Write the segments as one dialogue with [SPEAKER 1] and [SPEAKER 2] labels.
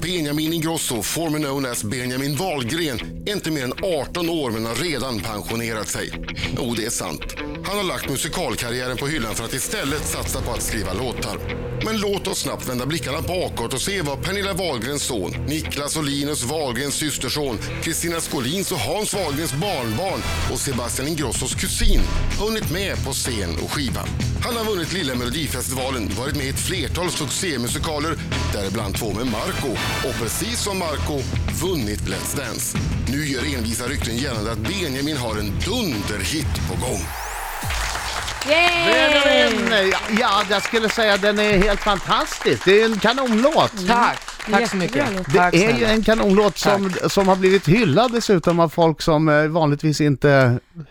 [SPEAKER 1] Benjamin Ingrosso, formerly known as Benjamin Wahlgren, är inte mer än 18 år men har redan pensionerat sig. Jo, det är sant. Han har lagt musikalkarriären på hyllan för att istället satsa på att skriva låtar. Men låt oss snabbt vända blickarna bakåt och se vad Pernilla Wahlgrens son, Niklas och Linus Wahlgrens systerson, Kristina Skolins och Hans Wahlgrens barnbarn och Sebastian Ingrossos kusin hunnit med på scen och skiva. Han har vunnit Lilla Melodifestivalen, varit med i ett flertal succémusikaler, däribland två med Marco och precis som Marco vunnit Let's Dance. Nu gör envisa rykten gällande att Benjamin har en dunderhit på gång.
[SPEAKER 2] Benjamin! Ja, ja, jag skulle säga att den är helt fantastisk. Det är en kanonlåt.
[SPEAKER 3] Tack! Tack så
[SPEAKER 4] Jättebra
[SPEAKER 3] mycket.
[SPEAKER 4] låt.
[SPEAKER 2] Det
[SPEAKER 3] Tack
[SPEAKER 2] är ju
[SPEAKER 3] snälla.
[SPEAKER 2] en kanonlåt som, som har blivit hyllad dessutom av folk som eh, vanligtvis inte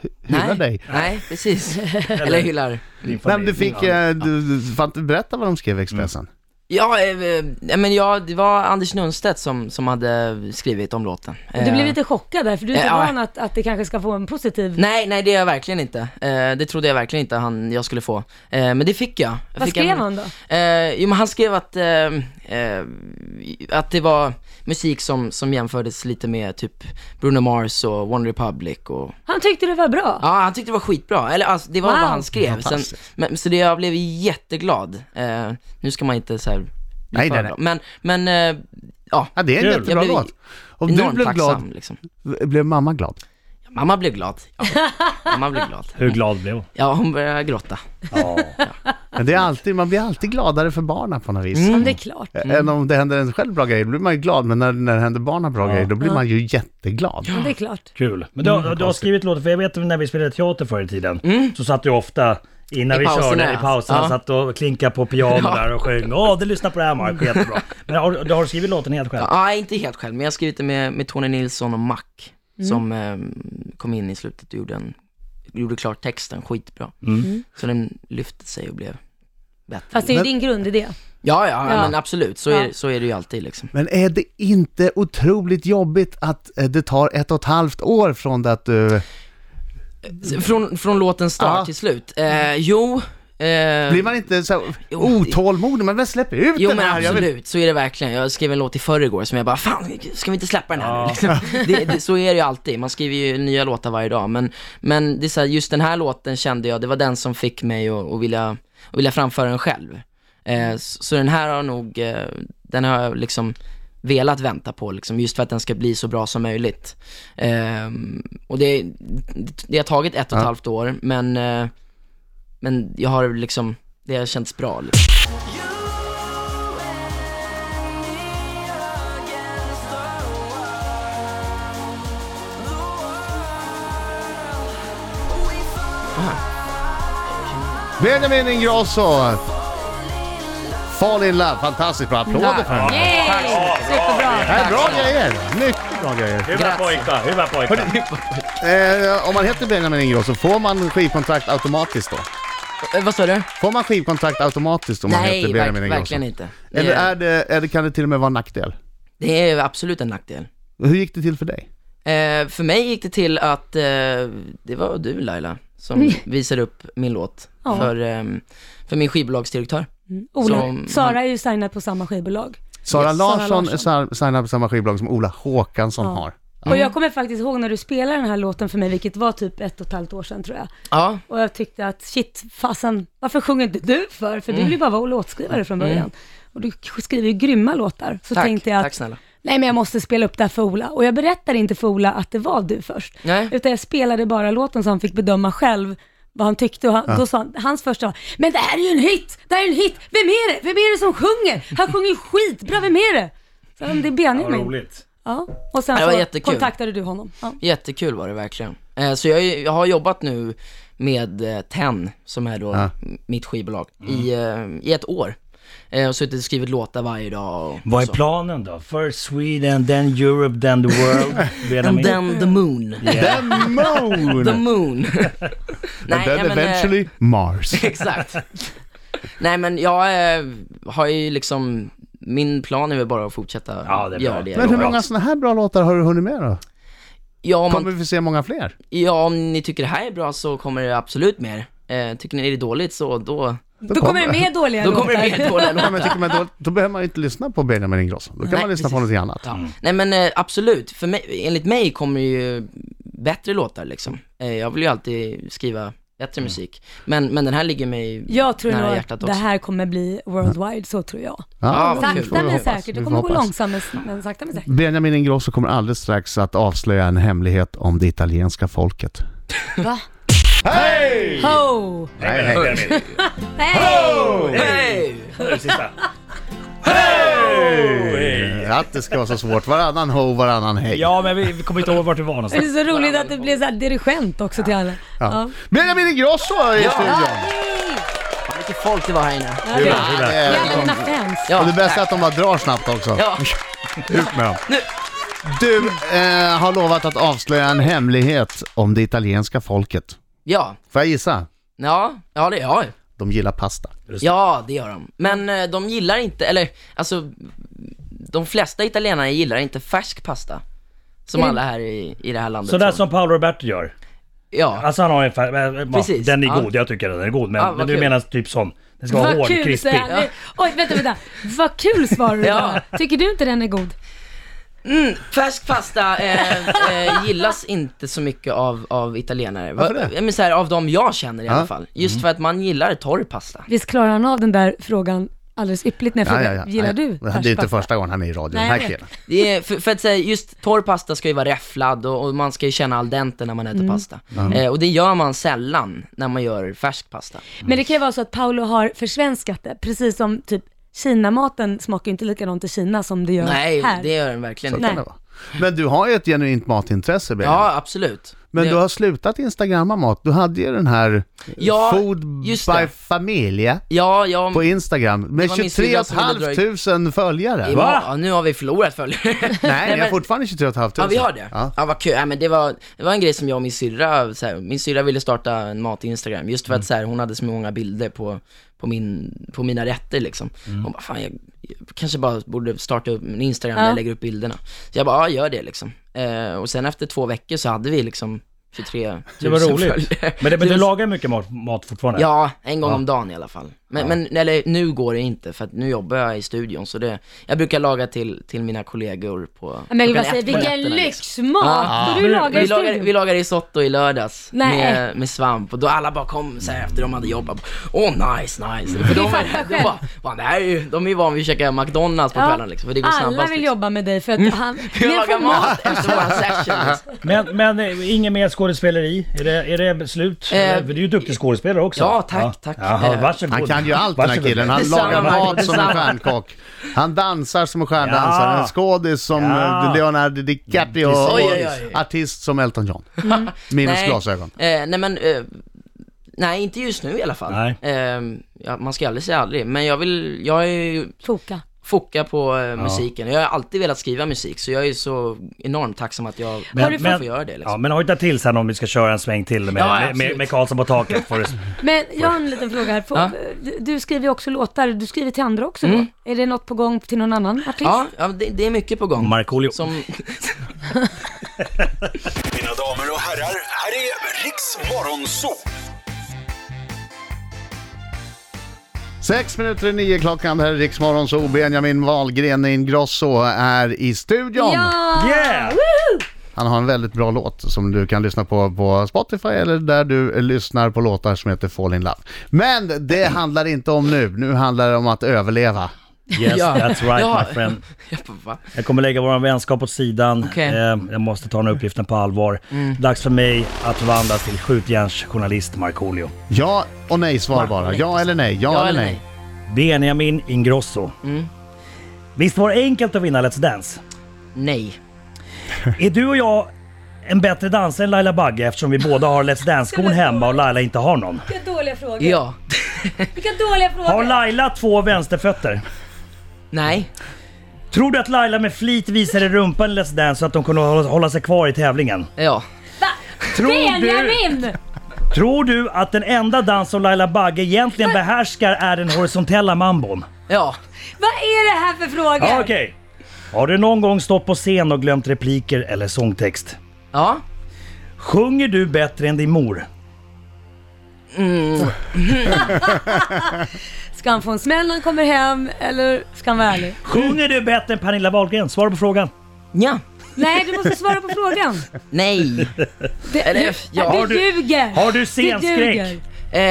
[SPEAKER 2] hy- hyllar
[SPEAKER 3] Nej,
[SPEAKER 2] dig.
[SPEAKER 3] Nej, precis. Eller hyllar.
[SPEAKER 5] Din familj.
[SPEAKER 2] Men du fick, eh, du, du, fan, berätta vad de skrev i Expressen.
[SPEAKER 3] Ja, eh, eh, men ja, det var Anders Nunstedt som, som hade skrivit om låten.
[SPEAKER 4] Du blev
[SPEAKER 3] Eh,
[SPEAKER 4] lite chockad där, för du är inte
[SPEAKER 3] Ja.
[SPEAKER 4] van att, att det kanske ska få en positiv...
[SPEAKER 3] Nej, nej det är jag verkligen inte. Eh, det trodde jag verkligen inte han, jag skulle få. Eh, men det fick jag. jag
[SPEAKER 4] Vad
[SPEAKER 3] fick
[SPEAKER 4] skrev
[SPEAKER 3] en-
[SPEAKER 4] han då?
[SPEAKER 3] Eh, jo, men han skrev att, eh, eh, att det var musik som, som jämfördes lite med typ Bruno Mars och One Republic och
[SPEAKER 4] Han tyckte det var bra.
[SPEAKER 3] Ja, han tyckte det var skitbra. Eller alltså, det var
[SPEAKER 4] Wow.
[SPEAKER 3] vad han skrev. Sen,
[SPEAKER 2] Fantastiskt.
[SPEAKER 3] men, så det, jag blev jätteglad. Eh, nu ska man inte så här... bli
[SPEAKER 2] Nej,
[SPEAKER 3] för
[SPEAKER 2] nej, nej.
[SPEAKER 3] glad. Men, men eh, ja.
[SPEAKER 2] Ja, det är en
[SPEAKER 5] Kul.
[SPEAKER 2] jättebra
[SPEAKER 3] Jag blev
[SPEAKER 2] låt. Om du
[SPEAKER 3] Enormt
[SPEAKER 2] blev
[SPEAKER 3] tacksam
[SPEAKER 2] glad,
[SPEAKER 3] liksom.
[SPEAKER 2] blev mamma glad?
[SPEAKER 3] Mamma blev glad. Ja, mamma blev glad.
[SPEAKER 5] Hur glad blev hon?
[SPEAKER 3] Ja, hon började gråta.
[SPEAKER 2] Men det är alltid, man blir alltid gladare för barnen på något vis.
[SPEAKER 3] Mm.
[SPEAKER 4] Ja, men det är klart.
[SPEAKER 2] Än om det händer en själv bra grej, då blir man ju glad. Men när, när det händer barnen bra grejer, då blir man ju jätteglad.
[SPEAKER 4] Men det är klart.
[SPEAKER 5] Kul. Mm, Men du, har- du har skrivit låtar, för jag vet när vi spelade teater förr i tiden, så satt du ofta innan
[SPEAKER 3] Mm. I
[SPEAKER 5] vi
[SPEAKER 3] pauserna,
[SPEAKER 5] körde i pauserna,
[SPEAKER 3] ja.
[SPEAKER 5] satt och klinkade på piano där och sjöng. Åh, du lyssnar på det här
[SPEAKER 3] Mm.
[SPEAKER 5] Marko, jättebra. Men har, du- har du skrivit låten helt själv?
[SPEAKER 3] Ja, nej, inte helt själv, men jag har skrivit det med, med Tony Nilsson och Mac
[SPEAKER 4] Mm.
[SPEAKER 3] som eh, kom in i slutet och gjorde, en, gjorde klart texten skitbra.
[SPEAKER 2] Mm.
[SPEAKER 4] Mm.
[SPEAKER 3] Så den lyfte sig och blev bättre.
[SPEAKER 4] Fast det är ju
[SPEAKER 2] Men-
[SPEAKER 4] din grundidé.
[SPEAKER 3] Ja, ja,
[SPEAKER 4] Ja.
[SPEAKER 3] men absolut. Så,
[SPEAKER 4] Ja.
[SPEAKER 3] är, så är det ju alltid liksom.
[SPEAKER 2] Men är det inte otroligt jobbigt att eh, det tar ett och ett halvt år från det att
[SPEAKER 3] Eh,
[SPEAKER 2] du...
[SPEAKER 3] Från, från låtens start
[SPEAKER 2] Ja.
[SPEAKER 3] till slut. Eh, jo, eh,
[SPEAKER 2] Blir man inte så här
[SPEAKER 3] Jo,
[SPEAKER 2] otålmodig? Men väl släpp ut
[SPEAKER 3] Jo
[SPEAKER 2] den
[SPEAKER 3] men
[SPEAKER 2] här! jag vill-
[SPEAKER 3] absolut, så är det verkligen. Jag skrev en låt i förrgår som jag bara, fan ska vi inte släppa den här nu? liksom? det, det, Så är det ju alltid, man skriver ju nya låtar varje dag. Men, men det är så här, just den här låten kände jag, det var den som fick mig att, att, vilja, att vilja framföra den själv. Eh, så, så den här har nog, eh, den har jag liksom velat vänta på liksom, just för att den ska bli så bra som möjligt. Eh, och det, det har tagit ett och ett halvt år, men, eh, men jag har liksom, det har känts bra. Liksom.
[SPEAKER 2] Benjamin Ingrosso! Fall in love, fantastiskt bra. Applåder för honom.
[SPEAKER 4] Yay! Superbra.
[SPEAKER 2] Det här är bra grejer, mycket bra grejer.
[SPEAKER 5] Hur var pojkar? Hur var pojkar?
[SPEAKER 2] Eh, om man heter Benjamin Ingrosso, får man skivkontrakt automatiskt då?
[SPEAKER 3] Eh, Vad sa du?
[SPEAKER 2] Får man skivkontrakt automatiskt om man heter
[SPEAKER 3] Nej, verk,
[SPEAKER 2] Benjamin Ingrosso?
[SPEAKER 3] verkligen inte. Det,
[SPEAKER 2] Eller
[SPEAKER 3] är,
[SPEAKER 2] är det, är det, kan det till och med vara en nackdel?
[SPEAKER 3] det är absolut en nackdel.
[SPEAKER 2] Hur gick det till för dig?
[SPEAKER 3] Eh, för mig gick det till att eh, det var du Laila som visade upp min låt
[SPEAKER 4] Ja.
[SPEAKER 3] för, ehm, för min skivbolagsdirektör.
[SPEAKER 4] Ola,
[SPEAKER 3] Som-
[SPEAKER 4] Sara är ju signad på samma skivbolag.
[SPEAKER 2] Sara
[SPEAKER 4] Yes, Sara
[SPEAKER 2] Larsson
[SPEAKER 4] Larsson.
[SPEAKER 2] signar signar på samma skivbolag som Ola Håkansson
[SPEAKER 4] Ja.
[SPEAKER 2] har.
[SPEAKER 4] Och jag kommer faktiskt ihåg när du spelade den här låten för mig, vilket var typ ett och ett halvt år sedan tror jag.
[SPEAKER 3] Ja,
[SPEAKER 4] Och jag tyckte att shit, fasen, varför sjunger inte du för?
[SPEAKER 3] Mm.
[SPEAKER 4] För du vill ju bara vara låtskrivare från början. Och du skriver ju grymma låtar. Så
[SPEAKER 3] tack.
[SPEAKER 4] tänkte jag
[SPEAKER 3] Tack
[SPEAKER 4] att,
[SPEAKER 3] snälla.
[SPEAKER 4] nej men jag måste spela upp det här för Ola. Och jag berättade inte för Ola att det var du först.
[SPEAKER 3] Nej.
[SPEAKER 4] Utan jag spelade bara låten så han fick bedöma själv vad han tyckte och han, då sa han, hans första var, men det här är ju en hit, det här är en hit, vem är det, vem är det som sjunger? Han sjunger ju skitbra, vem är det? Så han, det är
[SPEAKER 5] Vad
[SPEAKER 4] Benjamin.
[SPEAKER 5] roligt.
[SPEAKER 4] Ja, och sen
[SPEAKER 3] Det var
[SPEAKER 4] så
[SPEAKER 3] jättekul.
[SPEAKER 4] kontaktade du honom. Ja.
[SPEAKER 3] Jättekul var det verkligen. Eh, så jag, är- jag har jobbat nu med eh, Ten, som är då
[SPEAKER 2] Ja.
[SPEAKER 3] m- mitt skivbolag, i, eh, i ett år. Eh, och suttit och skrivit låtar varje dag och
[SPEAKER 5] Vad är
[SPEAKER 3] så.
[SPEAKER 5] planen då? First Sweden, then Europe, then the world.
[SPEAKER 3] And
[SPEAKER 5] Benjamin.
[SPEAKER 3] then the moon.
[SPEAKER 2] The Moon!
[SPEAKER 3] The moon. Nej,
[SPEAKER 2] And then
[SPEAKER 3] ja, men, eh,
[SPEAKER 2] eventually Mars.
[SPEAKER 3] Exakt. Nej men jag eh, har ju liksom, min plan är väl bara att fortsätta
[SPEAKER 5] Ja, det är bra.
[SPEAKER 3] göra det. jag
[SPEAKER 2] Men hur
[SPEAKER 3] gör.
[SPEAKER 2] många sådana här bra låtar har du hunnit med då?
[SPEAKER 3] Ja om,
[SPEAKER 2] Kommer
[SPEAKER 3] man,
[SPEAKER 2] vi få se många fler?
[SPEAKER 3] ja, om ni tycker det här är bra så kommer det absolut mer. Eh, tycker ni det är dåligt så då,
[SPEAKER 4] Då kommer det mer dåliga
[SPEAKER 3] Då kommer det mer dåliga
[SPEAKER 2] Ja,
[SPEAKER 3] låtar.
[SPEAKER 2] men tycker man då, då behöver man ju inte lyssna på Benjamin Ingrosso. Då kan
[SPEAKER 3] Nej,
[SPEAKER 2] man lyssna på
[SPEAKER 3] precis.
[SPEAKER 2] någonting annat.
[SPEAKER 3] Ja.
[SPEAKER 5] Mm.
[SPEAKER 3] Nej men eh, absolut, för mig, enligt mig kommer ju bättre låtar liksom. Eh, jag vill ju alltid skriva
[SPEAKER 5] Mm.
[SPEAKER 3] bättre musik. Men, men den här ligger mig
[SPEAKER 4] Jag tror
[SPEAKER 3] nära
[SPEAKER 4] nog
[SPEAKER 3] hjärtat
[SPEAKER 4] att
[SPEAKER 3] också.
[SPEAKER 4] det här kommer bli worldwide, så tror jag.
[SPEAKER 3] Ja, vad kul.
[SPEAKER 4] Sakta
[SPEAKER 3] Vi
[SPEAKER 4] men
[SPEAKER 3] hoppas.
[SPEAKER 4] säkert,
[SPEAKER 2] Vi
[SPEAKER 4] det
[SPEAKER 2] får
[SPEAKER 4] kommer gå
[SPEAKER 2] hoppas.
[SPEAKER 4] långsamt men- men sakta men säkert.
[SPEAKER 2] Benjamin Ingrosso kommer alldeles strax att avslöja en hemlighet om det italienska folket.
[SPEAKER 4] Va? Hej! Ho!
[SPEAKER 5] Nej, nej, nej, nej.
[SPEAKER 4] Hej!
[SPEAKER 3] Hey!
[SPEAKER 5] Det är det sista. Hej!
[SPEAKER 2] Att det ska vara så svårt. Varannan ho, varannan hej.
[SPEAKER 5] Ja, men vi vi kommer inte ihåg vart vi var
[SPEAKER 4] Det är
[SPEAKER 5] någonstans.
[SPEAKER 4] så roligt att det blir så här dirigent också till alla. Ja.
[SPEAKER 2] Benjamin Ingrosso är i studion!
[SPEAKER 3] Vilket folk det var här inne.
[SPEAKER 4] Ja. Ja.
[SPEAKER 5] Hur är det?
[SPEAKER 4] Ja, alla dina fans.
[SPEAKER 3] Ja,
[SPEAKER 2] Och det bästa är
[SPEAKER 3] tack.
[SPEAKER 2] att de bara drar snabbt också.
[SPEAKER 3] Ja.
[SPEAKER 2] Ut med dem. Du eh, har lovat att avslöja en hemlighet om det italienska folket.
[SPEAKER 3] Ja,
[SPEAKER 2] Får jag gissa?
[SPEAKER 3] ja, ja det, ja.
[SPEAKER 2] De gillar pasta.
[SPEAKER 3] ja det gör de. Men eh, de gillar inte, eller alltså, de flesta italienare gillar inte färsk pasta. Som alla här i, i det här landet.
[SPEAKER 5] Sådär
[SPEAKER 3] tror.
[SPEAKER 5] som Paolo Roberto gör.
[SPEAKER 3] Ja,
[SPEAKER 5] Alltså han har en färg, men, ja,
[SPEAKER 3] Precis,
[SPEAKER 5] den är
[SPEAKER 3] ja.
[SPEAKER 5] god, jag tycker den är god. Men,
[SPEAKER 3] Ja, vad
[SPEAKER 5] men du
[SPEAKER 3] kul.
[SPEAKER 5] menar typ sån, den ska vara
[SPEAKER 4] Vad
[SPEAKER 5] hård,
[SPEAKER 4] kul
[SPEAKER 5] krispig.
[SPEAKER 4] säger han. Oj, vänta, vänta. Vad kul svarar du
[SPEAKER 3] Ja.
[SPEAKER 4] bara. Tycker du inte den är god?
[SPEAKER 3] färsk pasta eh, eh, gillas inte så mycket av, av italienare.
[SPEAKER 2] Varför det? Mm.
[SPEAKER 3] Ja, Men så här, av de jag känner i alla fall. Just för att man gillar torr pasta.
[SPEAKER 4] Visst klarar han av den där frågan alldeles ypperligt när jag frågar, gillar du
[SPEAKER 2] Det här är ju inte
[SPEAKER 4] färskpasta?"
[SPEAKER 2] första gången han är i radio,
[SPEAKER 4] Nej,
[SPEAKER 2] den
[SPEAKER 4] jag
[SPEAKER 2] här
[SPEAKER 4] vet.
[SPEAKER 2] killen.
[SPEAKER 3] Det är, för, för att säga, just torr pasta ska ju vara räfflad och, och man ska ju känna al dente när man äter pasta. Eh, och det gör man sällan när man gör färsk pasta.
[SPEAKER 4] Men det kan ju vara så att Paolo har försvenskat det, precis som typ Kinamaten smakar ju inte likadant i Kina som det gör
[SPEAKER 3] Nej,
[SPEAKER 4] här.
[SPEAKER 3] det gör den verkligen
[SPEAKER 2] Så
[SPEAKER 3] inte.
[SPEAKER 2] kan det vara. Men du har ju ett genuint matintresse, Benjamin.
[SPEAKER 3] Ja, absolut.
[SPEAKER 2] Men
[SPEAKER 3] det,
[SPEAKER 2] du har slutat instagramma mat. Du hade ju den här eh,
[SPEAKER 3] Ja,
[SPEAKER 2] Food
[SPEAKER 3] just
[SPEAKER 2] by
[SPEAKER 3] det.
[SPEAKER 2] Familia
[SPEAKER 3] Ja, ja,
[SPEAKER 2] på Instagram med
[SPEAKER 3] var min syrra som hade
[SPEAKER 2] 23 500 följare.
[SPEAKER 3] i-
[SPEAKER 2] Va?
[SPEAKER 3] ja, nu har vi förlorat följare.
[SPEAKER 2] Nej, ni har
[SPEAKER 3] men-
[SPEAKER 2] fortfarande 23 500.
[SPEAKER 3] Ja, vi har det.
[SPEAKER 2] Ja.
[SPEAKER 3] Ja, vad kul. Ja, men det, var, det var en grej som jag och min syrra, så här, min syrra ville starta en mat-instagram, just för
[SPEAKER 2] Mm.
[SPEAKER 3] att så här, hon hade så många bilder på, på, min, på mina rätter liksom.
[SPEAKER 2] Mm.
[SPEAKER 3] Hon bara, fan jag, jag kanske bara borde starta upp en instagram där
[SPEAKER 4] Ja.
[SPEAKER 3] jag lägger upp bilderna. Så jag bara, ja gör det liksom. Eh, och sen efter två veckor så hade vi liksom 23 000
[SPEAKER 5] Det var roligt.
[SPEAKER 3] följare.
[SPEAKER 5] Men, det, men du
[SPEAKER 3] Tusen-
[SPEAKER 5] lagar mycket mat, mat fortfarande?
[SPEAKER 3] Ja, en gång om dagen i alla fall. Men, men eller, nu går det inte för att nu jobbar jag i studion så det, jag brukar laga till, till mina kollegor på
[SPEAKER 4] Men
[SPEAKER 3] klockan
[SPEAKER 4] vad
[SPEAKER 3] ett
[SPEAKER 4] säger,
[SPEAKER 3] på
[SPEAKER 4] vilken
[SPEAKER 3] nätterna, liksom.
[SPEAKER 4] lyxmat!
[SPEAKER 3] Ja.
[SPEAKER 4] Får du lagar i
[SPEAKER 3] Vi lagade,
[SPEAKER 4] studion?
[SPEAKER 3] vi lagade risotto i lördags
[SPEAKER 4] Nej.
[SPEAKER 3] med, med svamp och då alla bara kom så här efter de hade jobbat. Åh oh, nice, nice. För de,
[SPEAKER 4] Mm. fattar
[SPEAKER 3] de
[SPEAKER 4] själv.
[SPEAKER 3] bara, fan, det här är ju, de är ju vana vid att käka McDonalds på kvällarna liksom, för det går
[SPEAKER 4] Alla
[SPEAKER 3] snabbast.
[SPEAKER 4] vill
[SPEAKER 3] liksom.
[SPEAKER 4] jobba med dig för att han...
[SPEAKER 3] Vi
[SPEAKER 4] Ni har
[SPEAKER 3] lagar
[SPEAKER 4] fått
[SPEAKER 3] mat efter våran session. Liksom.
[SPEAKER 5] Men, men eh, inget mer skådespeleri? Är det, är det slut?
[SPEAKER 3] Eh,
[SPEAKER 5] Eller- för du är ju duktig skådespelare också.
[SPEAKER 3] ja, tack, tack.
[SPEAKER 5] Jaha,
[SPEAKER 3] Eh,
[SPEAKER 5] varsågod.
[SPEAKER 2] Han kan ju allt den här
[SPEAKER 5] Varsågod.
[SPEAKER 2] killen. Han
[SPEAKER 3] Detsamma,
[SPEAKER 2] lagar mat
[SPEAKER 3] Marcus,
[SPEAKER 2] som en
[SPEAKER 3] detsamma.
[SPEAKER 2] stjärnkock. Han dansar som en stjärndansare.
[SPEAKER 5] Ja.
[SPEAKER 2] En skådis som
[SPEAKER 5] Ja.
[SPEAKER 2] eh, Leonardo DiCaprio.
[SPEAKER 5] Precis.
[SPEAKER 3] Oj, oj, oj.
[SPEAKER 2] Och artist som Elton John.
[SPEAKER 5] Mm.
[SPEAKER 2] Minus
[SPEAKER 3] Mm. Nej.
[SPEAKER 2] glasögon.
[SPEAKER 3] Eh, nej men, eh, nej inte just nu i alla fall.
[SPEAKER 5] Nej.
[SPEAKER 3] Eh, ja, man ska aldrig säga aldrig, men jag vill, jag är ju
[SPEAKER 4] Foka.
[SPEAKER 3] foka på eh, musiken. Jag har alltid velat skriva musik, så jag är så enormt tacksam att jag
[SPEAKER 4] Har du
[SPEAKER 3] får
[SPEAKER 5] men-
[SPEAKER 3] få göra det. Liksom.
[SPEAKER 5] Ja, men hojta till sen om vi ska köra en sväng till med,
[SPEAKER 3] Ja,
[SPEAKER 5] med, med,
[SPEAKER 3] absolut.
[SPEAKER 5] med Karlsson på taket. Får du,
[SPEAKER 4] Men jag har en liten fråga här. Får-
[SPEAKER 3] Ja. Mm.
[SPEAKER 4] Du- Du skriver ju också låtar, du skriver till andra också då? Är det något på gång till någon annan artist?
[SPEAKER 3] Ja, ja det, det är mycket på gång.
[SPEAKER 5] Markoolio.
[SPEAKER 3] Som,
[SPEAKER 6] Mina damer och herrar, här är Riks Morgonzoo!
[SPEAKER 2] Sex minuter i nio klockan. Det här är Riksmorgon, så Benjamin Wahlgren Ingrosso är i studion.
[SPEAKER 4] Ja!
[SPEAKER 3] Ah,
[SPEAKER 5] Yeah!
[SPEAKER 2] Han har en väldigt bra låt som du kan lyssna på på Spotify eller där du lyssnar på låtar som heter Fall in Love. Men det handlar inte om nu. Nu handlar det om att överleva.
[SPEAKER 5] Yes,
[SPEAKER 3] Ja.
[SPEAKER 5] that's right
[SPEAKER 3] Ja.
[SPEAKER 5] my friend.
[SPEAKER 3] jag bara, va?
[SPEAKER 5] Jag kommer lägga vår vänskap åt sidan.
[SPEAKER 3] Okej.
[SPEAKER 5] Eh, jag måste ta den här uppgiften på allvar. Dags för mig att förvandlas till skjutjärnsjournalist Markoolio.
[SPEAKER 2] Ja och nej svar bara. Ja eller nej. Ja, eller nej.
[SPEAKER 5] Benjamin Ingrosso. Visst var det enkelt att vinna Let's Dance?
[SPEAKER 3] Nej.
[SPEAKER 5] Är du och jag en bättre dansare än Laila Bagge eftersom vi båda har Let's Dance-skon hemma och Laila inte har någon?
[SPEAKER 4] Vilka dåliga frågor.
[SPEAKER 3] Ja.
[SPEAKER 4] Vilka dåliga
[SPEAKER 5] Har
[SPEAKER 4] frågor.
[SPEAKER 5] Laila två vänsterfötter?
[SPEAKER 3] Nej.
[SPEAKER 5] Tror du att Laila med flit visade rumpan i Let's Dance så att de kunde hålla hålla sig kvar i tävlingen?
[SPEAKER 3] Ja.
[SPEAKER 4] Va?
[SPEAKER 5] Tror du,
[SPEAKER 4] Benjamin!
[SPEAKER 5] tror du att den enda dans som Laila Bagge egentligen behärskar är den horisontella mambon?
[SPEAKER 3] Ja.
[SPEAKER 4] Vad är det här för frågor?
[SPEAKER 5] Ja, okej. Har du någon gång stått på scen och glömt repliker eller sångtext?
[SPEAKER 3] Ja.
[SPEAKER 5] Sjunger du bättre än din mor?
[SPEAKER 4] Ska han få en smäll när han kommer hem eller ska han vara ärlig?
[SPEAKER 5] Sjunger du bättre än Pernilla Wahlgren? Svara på frågan.
[SPEAKER 3] Ja.
[SPEAKER 4] Nej, du måste svara på frågan.
[SPEAKER 3] Nej.
[SPEAKER 4] Det,
[SPEAKER 3] Eller,
[SPEAKER 4] du,
[SPEAKER 3] ja,
[SPEAKER 5] har
[SPEAKER 4] du
[SPEAKER 5] du-
[SPEAKER 4] ljuger.
[SPEAKER 5] har du
[SPEAKER 4] duger.
[SPEAKER 5] scenskräck?
[SPEAKER 3] Eh,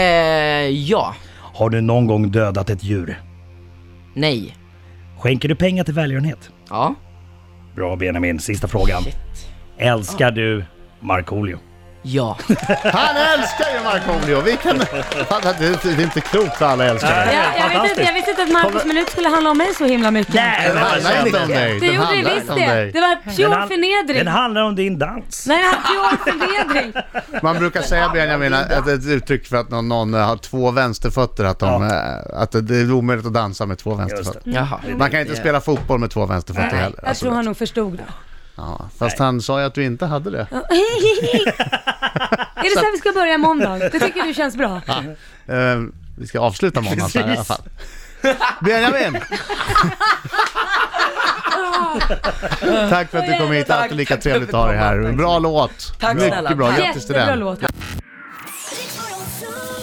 [SPEAKER 3] ja.
[SPEAKER 5] Har du någon gång dödat ett djur?
[SPEAKER 3] Nej.
[SPEAKER 5] Skänker du pengar till välgörenhet?
[SPEAKER 3] Ja.
[SPEAKER 5] Bra Benjamin, sista frågan. Älskar du Markoolio?
[SPEAKER 3] Ja.
[SPEAKER 2] Han älskar ju Markoolio! Vilken... Fan, Det är inte- det är inte klokt vad alla älskar det.
[SPEAKER 4] Ja, jag, vet inte, jag visste inte att Marcus minut skulle handla om mig så himla mycket.
[SPEAKER 5] Nej,
[SPEAKER 2] Den
[SPEAKER 5] alltså,
[SPEAKER 2] handlar inte om dig.
[SPEAKER 4] Det
[SPEAKER 2] Den
[SPEAKER 4] gjorde det
[SPEAKER 2] handlar
[SPEAKER 4] visst
[SPEAKER 2] inte om
[SPEAKER 4] det.
[SPEAKER 2] dig.
[SPEAKER 4] Det var
[SPEAKER 5] Den
[SPEAKER 4] pure
[SPEAKER 5] han-
[SPEAKER 4] förnedring.
[SPEAKER 5] Den handlar om din dans.
[SPEAKER 4] Nej, det var pure förnedring.
[SPEAKER 2] Man brukar säga Benjamin att att ett uttryck för att någon, någon eh, har två vänsterfötter, att, de, eh, att det det är omöjligt att dansa med två vänsterfötter.
[SPEAKER 3] Jaha.
[SPEAKER 2] Man kan inte spela fotboll med två vänsterfötter heller.
[SPEAKER 4] Jag tror han nog förstod.
[SPEAKER 2] ja, fast han sa ju att du inte hade det.
[SPEAKER 4] Är det så här vi ska börja måndag? Det tycker du känns bra?
[SPEAKER 2] Eh, vi ska avsluta månaden så här, i alla fall. Benjamin! Tack för att du kom hit, alltid lika trevligt att ha dig här. Bra låt!
[SPEAKER 3] Tack snälla.
[SPEAKER 2] Mycket bra,
[SPEAKER 3] Tack.
[SPEAKER 2] grattis till
[SPEAKER 4] Jättebra
[SPEAKER 2] den.
[SPEAKER 4] låt.
[SPEAKER 7] Riks Morgonzoo.